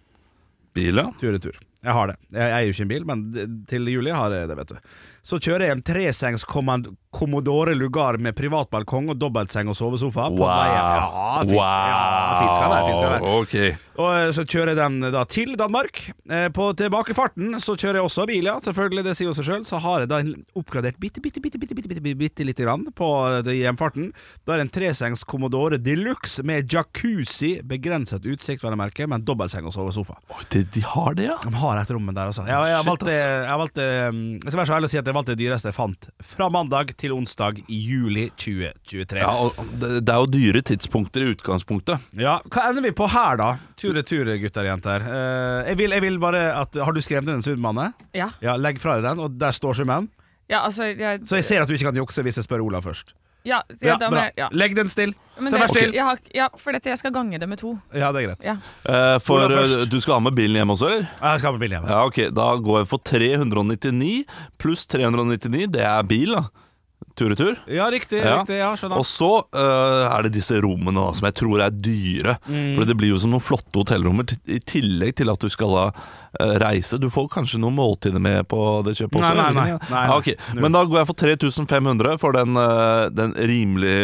D: Bil, ja.
B: Tur i tur. Jeg har det. Jeg jeg eier jo ikke en bil, men d- til juli har jeg det, vet du. Så kjører jeg en tresengs kommand- Commodore Lugar med privat balkong og dobbeltseng og sovesofa. på
D: Wow.
B: vei hjem. Ja, fint. Ja, fint skal det være. Fint skal det være.
D: Ok.
B: Og eh, så kjører jeg den da til Danmark. Eh, På tilbakefarten så kjører jeg også bil, ja. Selvfølgelig, det sier jo seg sjøl. Så har jeg da en oppgradert bitte, bitte, bitte, bitte, bitte, bitte, bitte, bitte lite grann på eh, det hjemfarten. Da er det en tresengs Commodore de luxe med jacuzzi, begrenset utsikt, vel å merke, men dobbeltseng og sovesofa.
D: Oi, de, de har det, ja.
B: De har et rom der også. Jeg, jeg,
D: Shit,
B: valgte, jeg, valgte, um, jeg skal være så ærlig å si at jeg valgte det dyreste jeg fant. Fra mandag til onsdag i juli 2023.
D: ja
B: Ja,
D: og det, det er jo dyre tidspunkter i utgangspunktet.
B: Hva ender vi på her, da? Tur-retur, gutter og jenter. Eh, jeg, vil, jeg vil bare at Har du skrevet ned en sunnmanne?
C: Ja.
B: Ja, legg fra deg den, og der står summen.
C: Ja, altså jeg,
B: Så jeg ser at du ikke kan jukse hvis jeg spør Olav først.
C: ja, ja,
B: Ja,
C: da må
B: bra.
C: jeg- ja.
B: Legg den still.
C: Men
B: Stå vær
C: det-
B: still.
C: jeg har- Ja, for dette, jeg skal gange det med to.
B: Ja, det er greit.
C: Ja.
D: Eh, for
B: Olav først.
D: eh, du skal ha med bilen hjem også, eller?
B: Jeg skal ha med billig.
D: Ja, ok. Da går jeg for 399 pluss 399. Det er bil, da. Tur-retur.
B: Ja, riktig.
D: Ja.
B: riktig ja,
D: Og
B: skjønner.
D: så eh, er det disse rommene da, som jeg tror er dyre.
C: Mm.
D: For det blir jo som noen flotte hotellrommer, t- i tillegg til at du skal da eh, reise. Du får kanskje noen måltider med på det kjøpet også?
B: Nei, nei,
D: eller?
B: nei. Nei,
D: Ja, ok.
B: nei.
D: Men da går jeg for 3500 for den, eh, den rimelig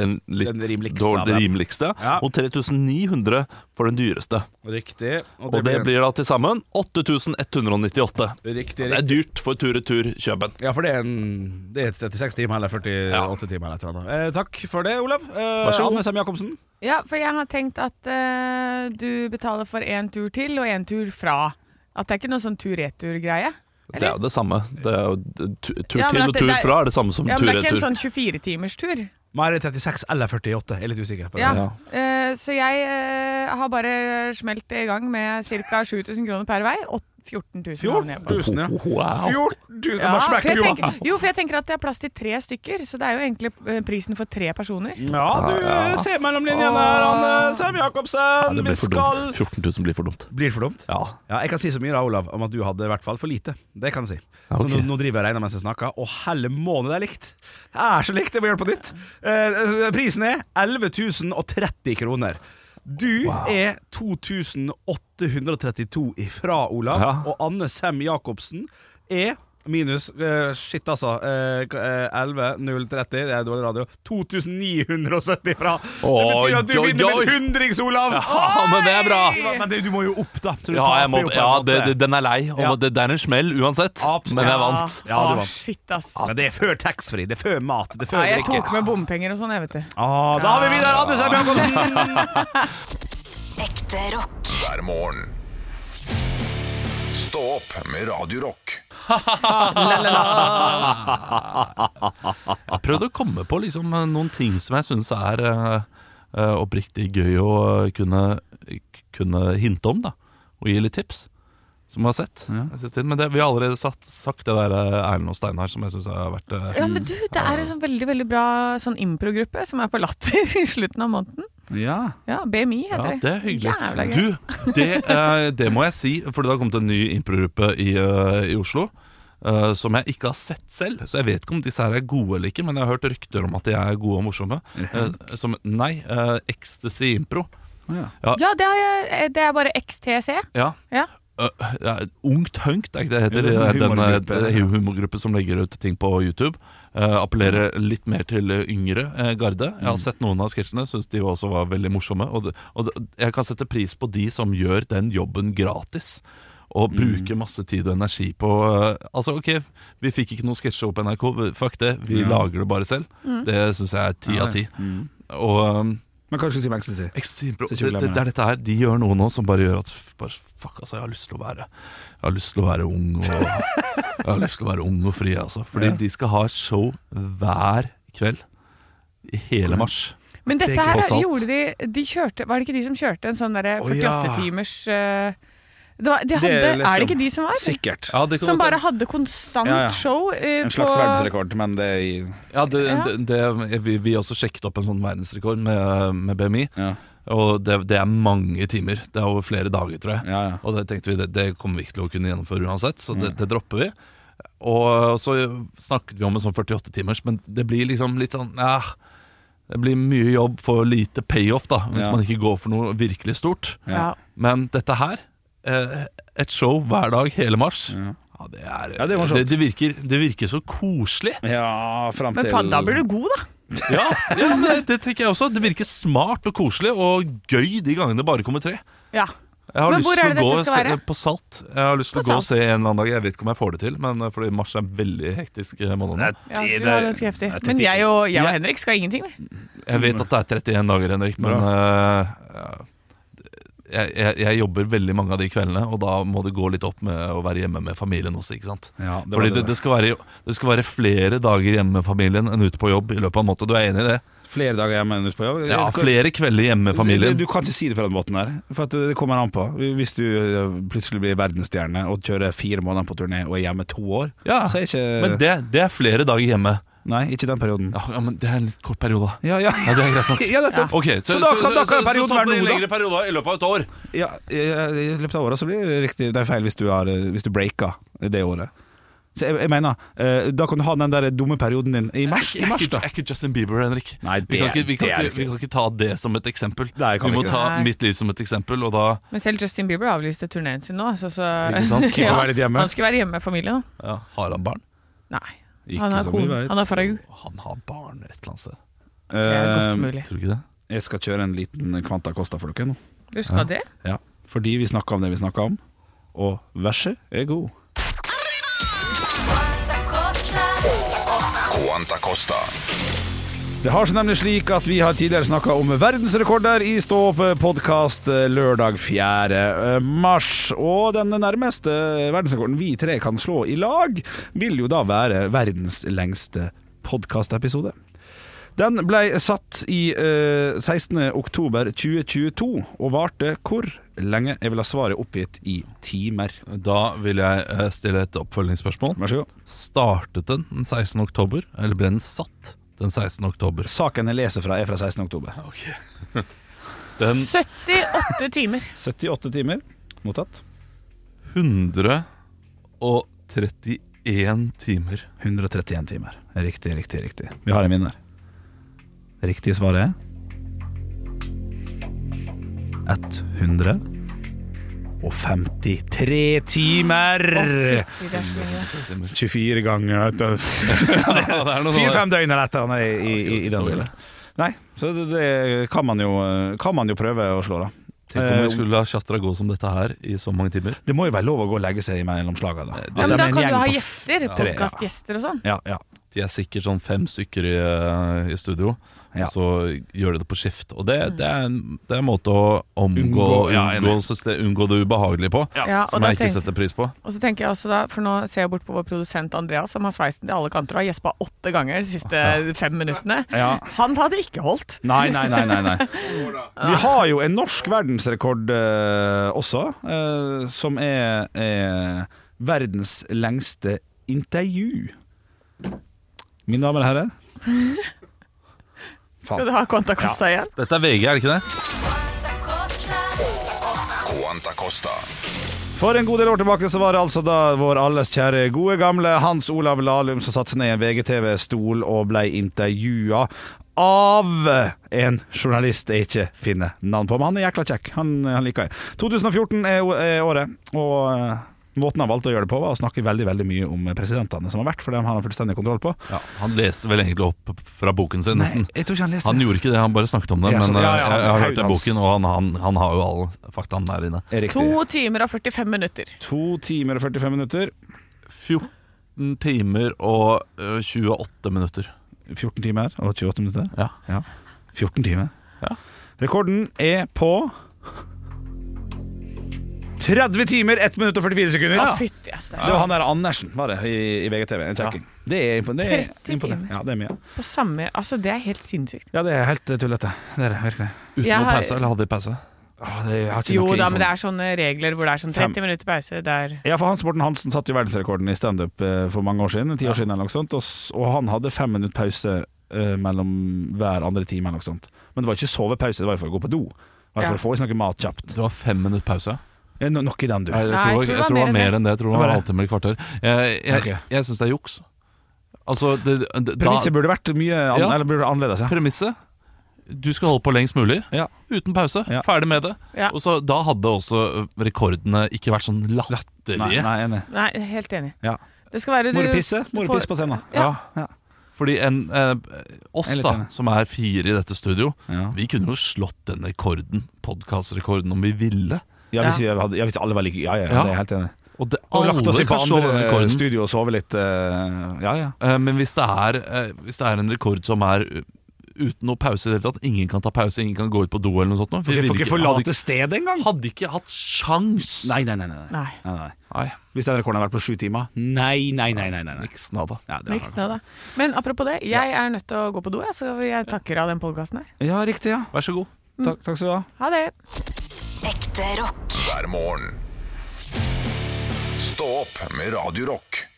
D: Den litt
B: Den rimeligste
D: dårlig-
B: av dem.
D: rimeligste.
B: Ja.
D: Og 3900 for den dyreste.
B: Riktig.
D: Og det blir da til sammen 8198.
B: Riktig,
D: Det er
B: riktig.
D: dyrt for tur-retur-kjøpen.
B: Ja, for det er, en, det er 36 timer eller 48 timer eller et eller annet. Eh, takk for det, Olav. Eh,
D: Vær så god.
B: Anne Sem Jacobsen.
C: Ja, for jeg har tenkt at eh, du betaler for én tur til og én tur fra. At det er ikke noe sånn tur-retur-greie.
D: Det er jo det samme. Det er jo, tu- tur
C: Ja, men
D: til
C: at
D: og
C: det-
D: tur
C: det er-
D: fra er det samme som
C: Ja, men det er ikke en
D: tur-retur.
C: sånn 24-timerstur.
B: Nei, det er 36 eller 48. Jeg er litt usikker på det.
C: Ja. Eh, så jeg eh, har bare smelt i gang med ca. 7000 kroner per vei. Og 14 000 havner jeg på.
B: 14 000, ja.
D: Wow.
B: 14 000!
C: Ja,
B: bare
C: for
B: smekk
C: jeg
B: fjorden.
C: tenker, jo, for jeg tenker at det er plass til tre stykker, så det er jo egentlig eh, prisen for tre personer.
B: Ja, du eh, ser mellom linjene her, Anne
C: Ah.
B: Sem Jacobsen.
D: det
B: Vi
D: blir for
B: skal
D: dumt. 14 000 blir for dumt.
B: Blir det for dumt?
D: Ja.
B: Ja, jeg kan si så mye da, Olav, om at du hadde i hvert fall for lite. Det kan jeg si.
D: Ja, ok.
B: Så nå, nå driver jeg og regner mens jeg snakker, og helle måned det er likt. Det er så likt, det må gjøre på nytt. Eh, prisen er 11 030 kroner. Du er 2832 ifra, Olav,
D: Ja.
B: og Anne Sem Jacobsen er Minus eh, Shit, altså. eh, k- eh, 11.030, det er dårlig radio. 2970 fra. det
D: Oi,
B: betyr at du
D: oi,
B: vinner med
D: oi.
B: en hundrings, Olav!
D: Ja, Ah, men det er bra!
B: Men det, du må jo opp, da. Så du
D: Ja,
B: taper
D: jeg må,
B: jo på en
D: ja
B: måte.
D: det, det, den er lei. Og
B: Ja.
D: det, det er en smell uansett,
B: Absolutt.
D: men jeg
C: Ja.
D: vant.
B: Ja, du
C: Åh,
B: vant.
C: Ah.
B: Ah,
C: Shit, ass.
B: Men det er før taxfree, det er før mat, det er før
C: Nei, jeg
B: drikke.
C: tok med bompenger og sånn, jeg, vet du.
B: Ah, da har vi videre Anders Herr Jacobsen!
E: Ekte rock.
A: hver morgen. Stå opp med Radio Rock.
D: Jeg prøvde å komme på liksom, noen ting som jeg syns er eh, eh, oppriktig gøy å eh, kunne, kunne hinte om, da. Og gi litt tips. Som jeg har sett. Jeg synes det- Men det, vi har allerede sagt, sagt det der eh, Erlend og Steinar, som jeg syns har vært eh,
C: Ja, men du, det er en sånn veldig veldig bra sånn improgruppe som er på Latter i slutten av måneden.
B: Ja.
C: Ja, BMI
D: Ja,
C: heter
D: det er hyggelig.
C: Jævla gøy.
D: Du, det, eh, det må jeg si, for det har kommet en ny improgruppe i, eh, i Oslo. eh, som jeg ikke har sett selv, så jeg vet ikke om disse her er gode eller ikke. Men jeg har hørt rykter om at de er gode og morsomme. Eh, som Nei, eh, Ecstasy Impro. Ja.
C: Ja, det, har jeg, eh, det er bare XTC.
D: Ja.
C: Ja.
D: Ø, ja, Ungt Hønkt, er ikke det heter?
B: Jo, det er sånn
D: den
B: humorgruppe.
D: eh, humorgruppe som legger ut ting på YouTube. Eh, appellerer litt mer til yngre eh, garde. Jeg
B: Mm.
D: har sett noen av sketsjene, syns de også var veldig morsomme. Og, det, og det, jeg kan sette pris på de som gjør den jobben gratis. Og
B: Mm.
D: bruker masse tid og energi på eh, Altså, OK, vi fikk ikke noen sketsjer på NRK, fuck det, vi
B: Ja.
D: lager det bare selv. Det syns jeg er ti
B: Ja,
D: av ti.
B: Mm.
D: Og um,
B: Men kanskje si Maxelsi.
D: Ekstrembro.
B: Så
D: Det,
B: ikke glem
D: det, det er dette her. De gjør noe nå som bare gjør at f- bare, Fuck, altså, jeg har lyst til å være Jeg har lyst til å være ung og Jeg har lyst til å være ung og fri, altså. Fordi de skal ha show hver kveld i hele mars.
C: Men dette
D: Det er
C: her
D: ikke-
C: gjorde de, de kjørte, Var det ikke de som kjørte en sånn derre
D: Å, ja.
C: 48-timers eh, det var- de
B: Det leste
C: hadde- Er det
B: om.
C: ikke de som var?
B: Sikkert.
D: Ja, det,
C: Som bare hadde konstant
B: Ja, ja.
C: show eh,
B: En slags
C: på
B: verdensrekord, men det er i
D: det,
C: Ja.
D: det- vi, vi også sjekket opp en sånn verdensrekord med, med BMI,
B: Ja,
D: og det, det er mange timer. Det er over flere dager, tror jeg.
B: ja. ja.
D: Og det tenkte vi, det, det kommer vi ikke til å kunne gjennomføre uansett, så det, det dropper vi. Og så snakket vi om en sånn 48-timers, men det blir liksom litt sånn ja, Det blir mye jobb for lite payoff, da, hvis
B: Ja.
D: man ikke går for noe virkelig stort.
C: ja.
D: Men dette her, eh, et show hver dag hele mars,
B: Ja.
D: ja, det, er,
B: Ja, det sånn. er morsomt.
D: det, det, virker, det virker så koselig.
B: Ja, fram til
C: Men faen, da blir du god, da.
D: Ja, ja men det, det tenker jeg også. Det virker smart og koselig og gøy de gangene det bare kommer tre.
C: Ja.
D: Jeg har
C: Men
D: lyst
C: hvor
D: til
C: er det
D: å gå
C: dette skal
D: og se,
C: være?
D: På Salt. Jeg har lyst til
C: På
D: å gå og se
C: Salt.
D: en eller annen dag. Jeg vet ikke om jeg får det til, men eh, fordi mars er en veldig hektisk eh, måned nå.
C: ja du er ganske heftig. Men jeg og, jeg og Henrik skal ingenting, vi.
D: Jeg vet at det er 31 dager, Henrik, men eh, ja, jeg, jeg, jeg jobber veldig mange av de kveldene, og da må det gå litt opp med å være hjemme med familien også, ikke sant.
B: Ja, det var
D: Fordi
B: det
D: det,
B: der.
D: det, skal være, det skal være flere dager hjemme med familien enn ute på jobb i løpet av en måned. Du er enig i det?
B: Flere dager hjemme enn ute på jobb?
D: Ja,
B: Det-
D: flere kvelder hjemme med familien.
B: Du, du kan ikke si det på den måten her, for at det kommer an på. Hvis du eh, plutselig blir verdensstjerne og kjører fire måneder på turné og er hjemme to år,
D: Ja,
B: så er ikke
D: men det, det er flere dager hjemme.
B: Nei, ikke den perioden.
D: Ja, ja, men det er en litt kort periode, da.
B: Ja, ja.
D: Ja, det er greit nok.
B: Ja, nettopp.
D: Ok,
B: Så da kan- da kan perioden
D: sånn
B: være
D: blir det
B: noe, da.
D: lengre perioder i løpet av et år.
B: Ja, I i løpet av året så blir det riktig Det er feil hvis du, har, hvis du breaka det året. Så jeg, jeg mener, eh, da kan du ha den der dumme perioden din i mars, i mars da.
D: Er ikke Justin Bieber, Henrik.
B: Nei,
D: vi,
B: det-
D: kan ikke, vi, kan
B: det er
D: ikke, vi kan ikke ta det som et eksempel.
B: Nei, kan
D: vi
B: vi
D: må
B: ikke.
D: ta
C: Nei.
D: mitt liv som et eksempel, og da
C: Men selv Justin Bieber avlyste turneen sin nå. altså, Så, så,
D: Ikke sant?
B: Keep å være litt hjemme.
C: Han skulle være hjemme med familien. da.
D: ja, har han barn.
C: Nei.
B: Ikke
C: Han er
B: som vi
C: kone.
B: vet.
C: Han er fra U.
D: Han har barn et eller annet sted.
C: Det er godt
B: Eh,
C: mulig.
D: Tror du ikke det?
B: jeg skal kjøre en liten Kvanta Costa for dere nå.
C: Du skal det?
B: Ja. Fordi vi snakka om det vi snakka om, og verset er god.
A: Quanta Costa.
B: Det har seg nemlig slik at vi har tidligere snakka om verdensrekorder i Stå-opp-podkast eh, lørdag 4. mars. Og den nærmeste eh, verdensrekorden vi tre kan slå i lag, vil jo da være verdens lengste podkastepisode. Den ble satt i eh, 16. oktober 2022 og varte hvor lenge? Jeg vil ha svaret oppgitt i timer.
D: Da vil jeg eh, stille et oppfølgingsspørsmål.
B: Vær så god.
D: Startet den den 16. oktober, eller ble den satt den 16. oktober?
B: Saken jeg leser fra er fra 16. oktober.
D: Den
B: Mm.
C: 78 timer.
B: 78 timer mottatt.
D: 131 timer.
B: 131 timer. Riktig, riktig, riktig. Vi har en vinner. Det riktige svaret er 153 timer!
C: Å, fytti, det er så mye.
B: 24 ganger
D: Ja, det er noe sånt.
B: Fire-fem døgn eller et eller annet i, i, i
D: Så
B: den
D: ille.
B: bilen. Nei, så det, det kan, man jo, kan man jo prøve å slå, da. Eh,
D: Tenk om vi skulle ha Chatra gå som dette her i så mange timer.
B: Det må jo være lov å gå og legge seg mellom slaga, da.
C: Ja,
B: At
C: men
B: de
C: da
B: er en
C: kan
B: gjeng
C: du ha
B: på f-
C: gjester.
B: tre, ja.
C: Podkastgjester og sånn.
B: Ja, ja.
D: De er sikkert sånn fem stykker i, eh, i studio,
B: Ja.
D: og så gjør de det på skift. Og det, det, er, en, det er en måte å omgå,
B: Unngå-
D: unngå,
B: ja, enig.
D: system, unngå det ubehagelige på,
C: Ja, og,
D: som
C: da
D: jeg ikke
C: tenk,
D: setter pris på.
C: og så tenker jeg også da, for nå ser jeg bort på vår produsent Andreas, som har sveisen til alle kanter og har gjespa åtte ganger de siste fem minuttene.
B: Ja.
C: Han hadde ikke holdt.
B: Nei, nei, nei, nei, nei. Vi har jo en norsk verdensrekord eh, også, eh, som er eh, verdens lengste intervju. Mine damer og herrer.
C: Skal du ha Conta Costa igjen?
D: Dette er VG, er det ikke det?
A: Quanta Costa.
B: For en god del år tilbake så var det altså da vår alles kjære gode gamle Hans Olav Lahlum som satte seg ned i en VGTV-stol og ble intervjua av en journalist jeg ikke finner navn på. Men han er jækla kjekk. Han, han liker jeg. 2014 er, å- er året, og eh, måten han valgte å gjøre det på, var å snakke veldig veldig mye om presidentene som har vært, for dem har han fullstendig kontroll på.
D: Ja, han leste vel egentlig opp fra boken sin,
B: Nei,
D: nesten.
B: jeg tror ikke han leste
D: Han
B: det.
D: gjorde ikke det, han bare snakket om det.
B: Ja, så-
D: men
B: ja,
D: eh,
B: ja,
D: jeg, jeg har
B: haugen
D: hørt den
B: hans.
D: boken, og han, han, han har jo alle faktaene der inne.
B: Er riktig.
C: To timer og 45 minutter.
B: To timer og 45 minutter.
D: 14 timer og eh, 28 minutter.
B: 14 timer og 28 minutter.
D: Ja.
B: 14 timer.
D: Ja.
B: Rekorden er på 30 timer, 1 minutt og 44 sekunder.
C: Å, fytti ass, det
B: Det
C: er
B: var han der Andersen, var det, i, i VGTV. En kjekking. Det er impon- det er
C: 30
B: imponerende. Ja, det er mye.
C: På samme Altså, det er helt sinnssykt.
B: Ja, det er helt eh, tullete. Det er det, virkelig.
D: Uten
C: Jeg
D: noe
C: har-
D: pause, eller hadde de pause?
B: Åh, det, jeg har ikke
C: Jo
B: noe
C: da,
B: info.
C: men det er sånne regler hvor det er sånn 30 minutter pause. Det er
B: Ja, for Hans Morten Hansen satte jo verdensrekorden i standup eh, for mange år siden. Ti år siden eller noe sånt Og, s- og han hadde fem minutter pause eh, mellom hver andre time. eller noe sånt Men det var ikke sovepause, det var jo for å gå på do. Det var
C: Ja.
B: for å få i seg noe mat kjapt.
D: Det var fem minutter pause.
B: Eh, no- Nok i den, du.
D: Nei, jeg,
C: Nei,
D: tror, jeg, tror det var mer enn det. Jeg tror det
B: Hva
D: var en
B: var det?
D: halvtime eller kvarter. Jeg, jeg,
B: Ok.
D: jeg syns det er juks. Altså, det, det, da,
B: Premisset burde vært mye an
D: Ja.
B: Eller burde annerledes. Ja.
D: premisset Du skal holde på lengst mulig,
B: Ja.
D: uten pause.
B: Ja.
D: Ferdig med det.
C: Ja.
D: Og så, Da hadde også rekordene ikke vært sånn latterlige.
B: Nei, nei, enig.
C: Nei, jeg er helt enig.
B: Ja.
C: Det skal være
B: Må du
C: du-
B: pisse? Må
C: du
B: du
C: får-
B: pisse på scenen?
D: Ja.
B: Ja.
D: Fordi en, eh, oss,
B: Jeg er litt
D: da,
B: enig.
D: som er fire i dette studio,
B: Ja.
D: vi kunne jo slått den rekorden, podkastrekorden, om vi ville.
B: Ja, hvis, vi hadde, ja, hvis alle var like Ja, ja, ja,
D: Ja.
B: det er jeg helt enig.
D: Og det,
B: Og lagt oss
D: alle
B: i på
D: kan slå den
B: andre
D: rekorden.
B: studio og sove litt. eh, Ja, ja.
D: Eh, Men hvis det, er, eh, hvis det er en rekord som er eh, uten noe pause i det hele tatt, ingen kan ta pause, ingen kan gå ut på do eller noe sånt nå, vi
B: Vi
D: ville
B: får ikke
D: hadde,
B: forlate
D: ikke-
B: stedet engang!
D: hadde ikke hatt sjans!
B: Nei, nei, nei. nei, nei.
C: Nei.
B: nei, nei.
D: Nei,
B: Hvis den rekorden har vært på sju timer Nei, nei, nei, nei, nei, nei.
D: niks nada.
B: Ja, det har
C: Niks
B: han.
C: nå, da. Men apropos det, jeg er nødt til å gå på do, jeg, så jeg takker av den podkasten her.
B: ja riktig, ja
D: Vær så god.
B: Takk, takk skal du ha
C: Ha det.
E: Ekte rock.
A: hver morgen. Stå opp med Radio Rock.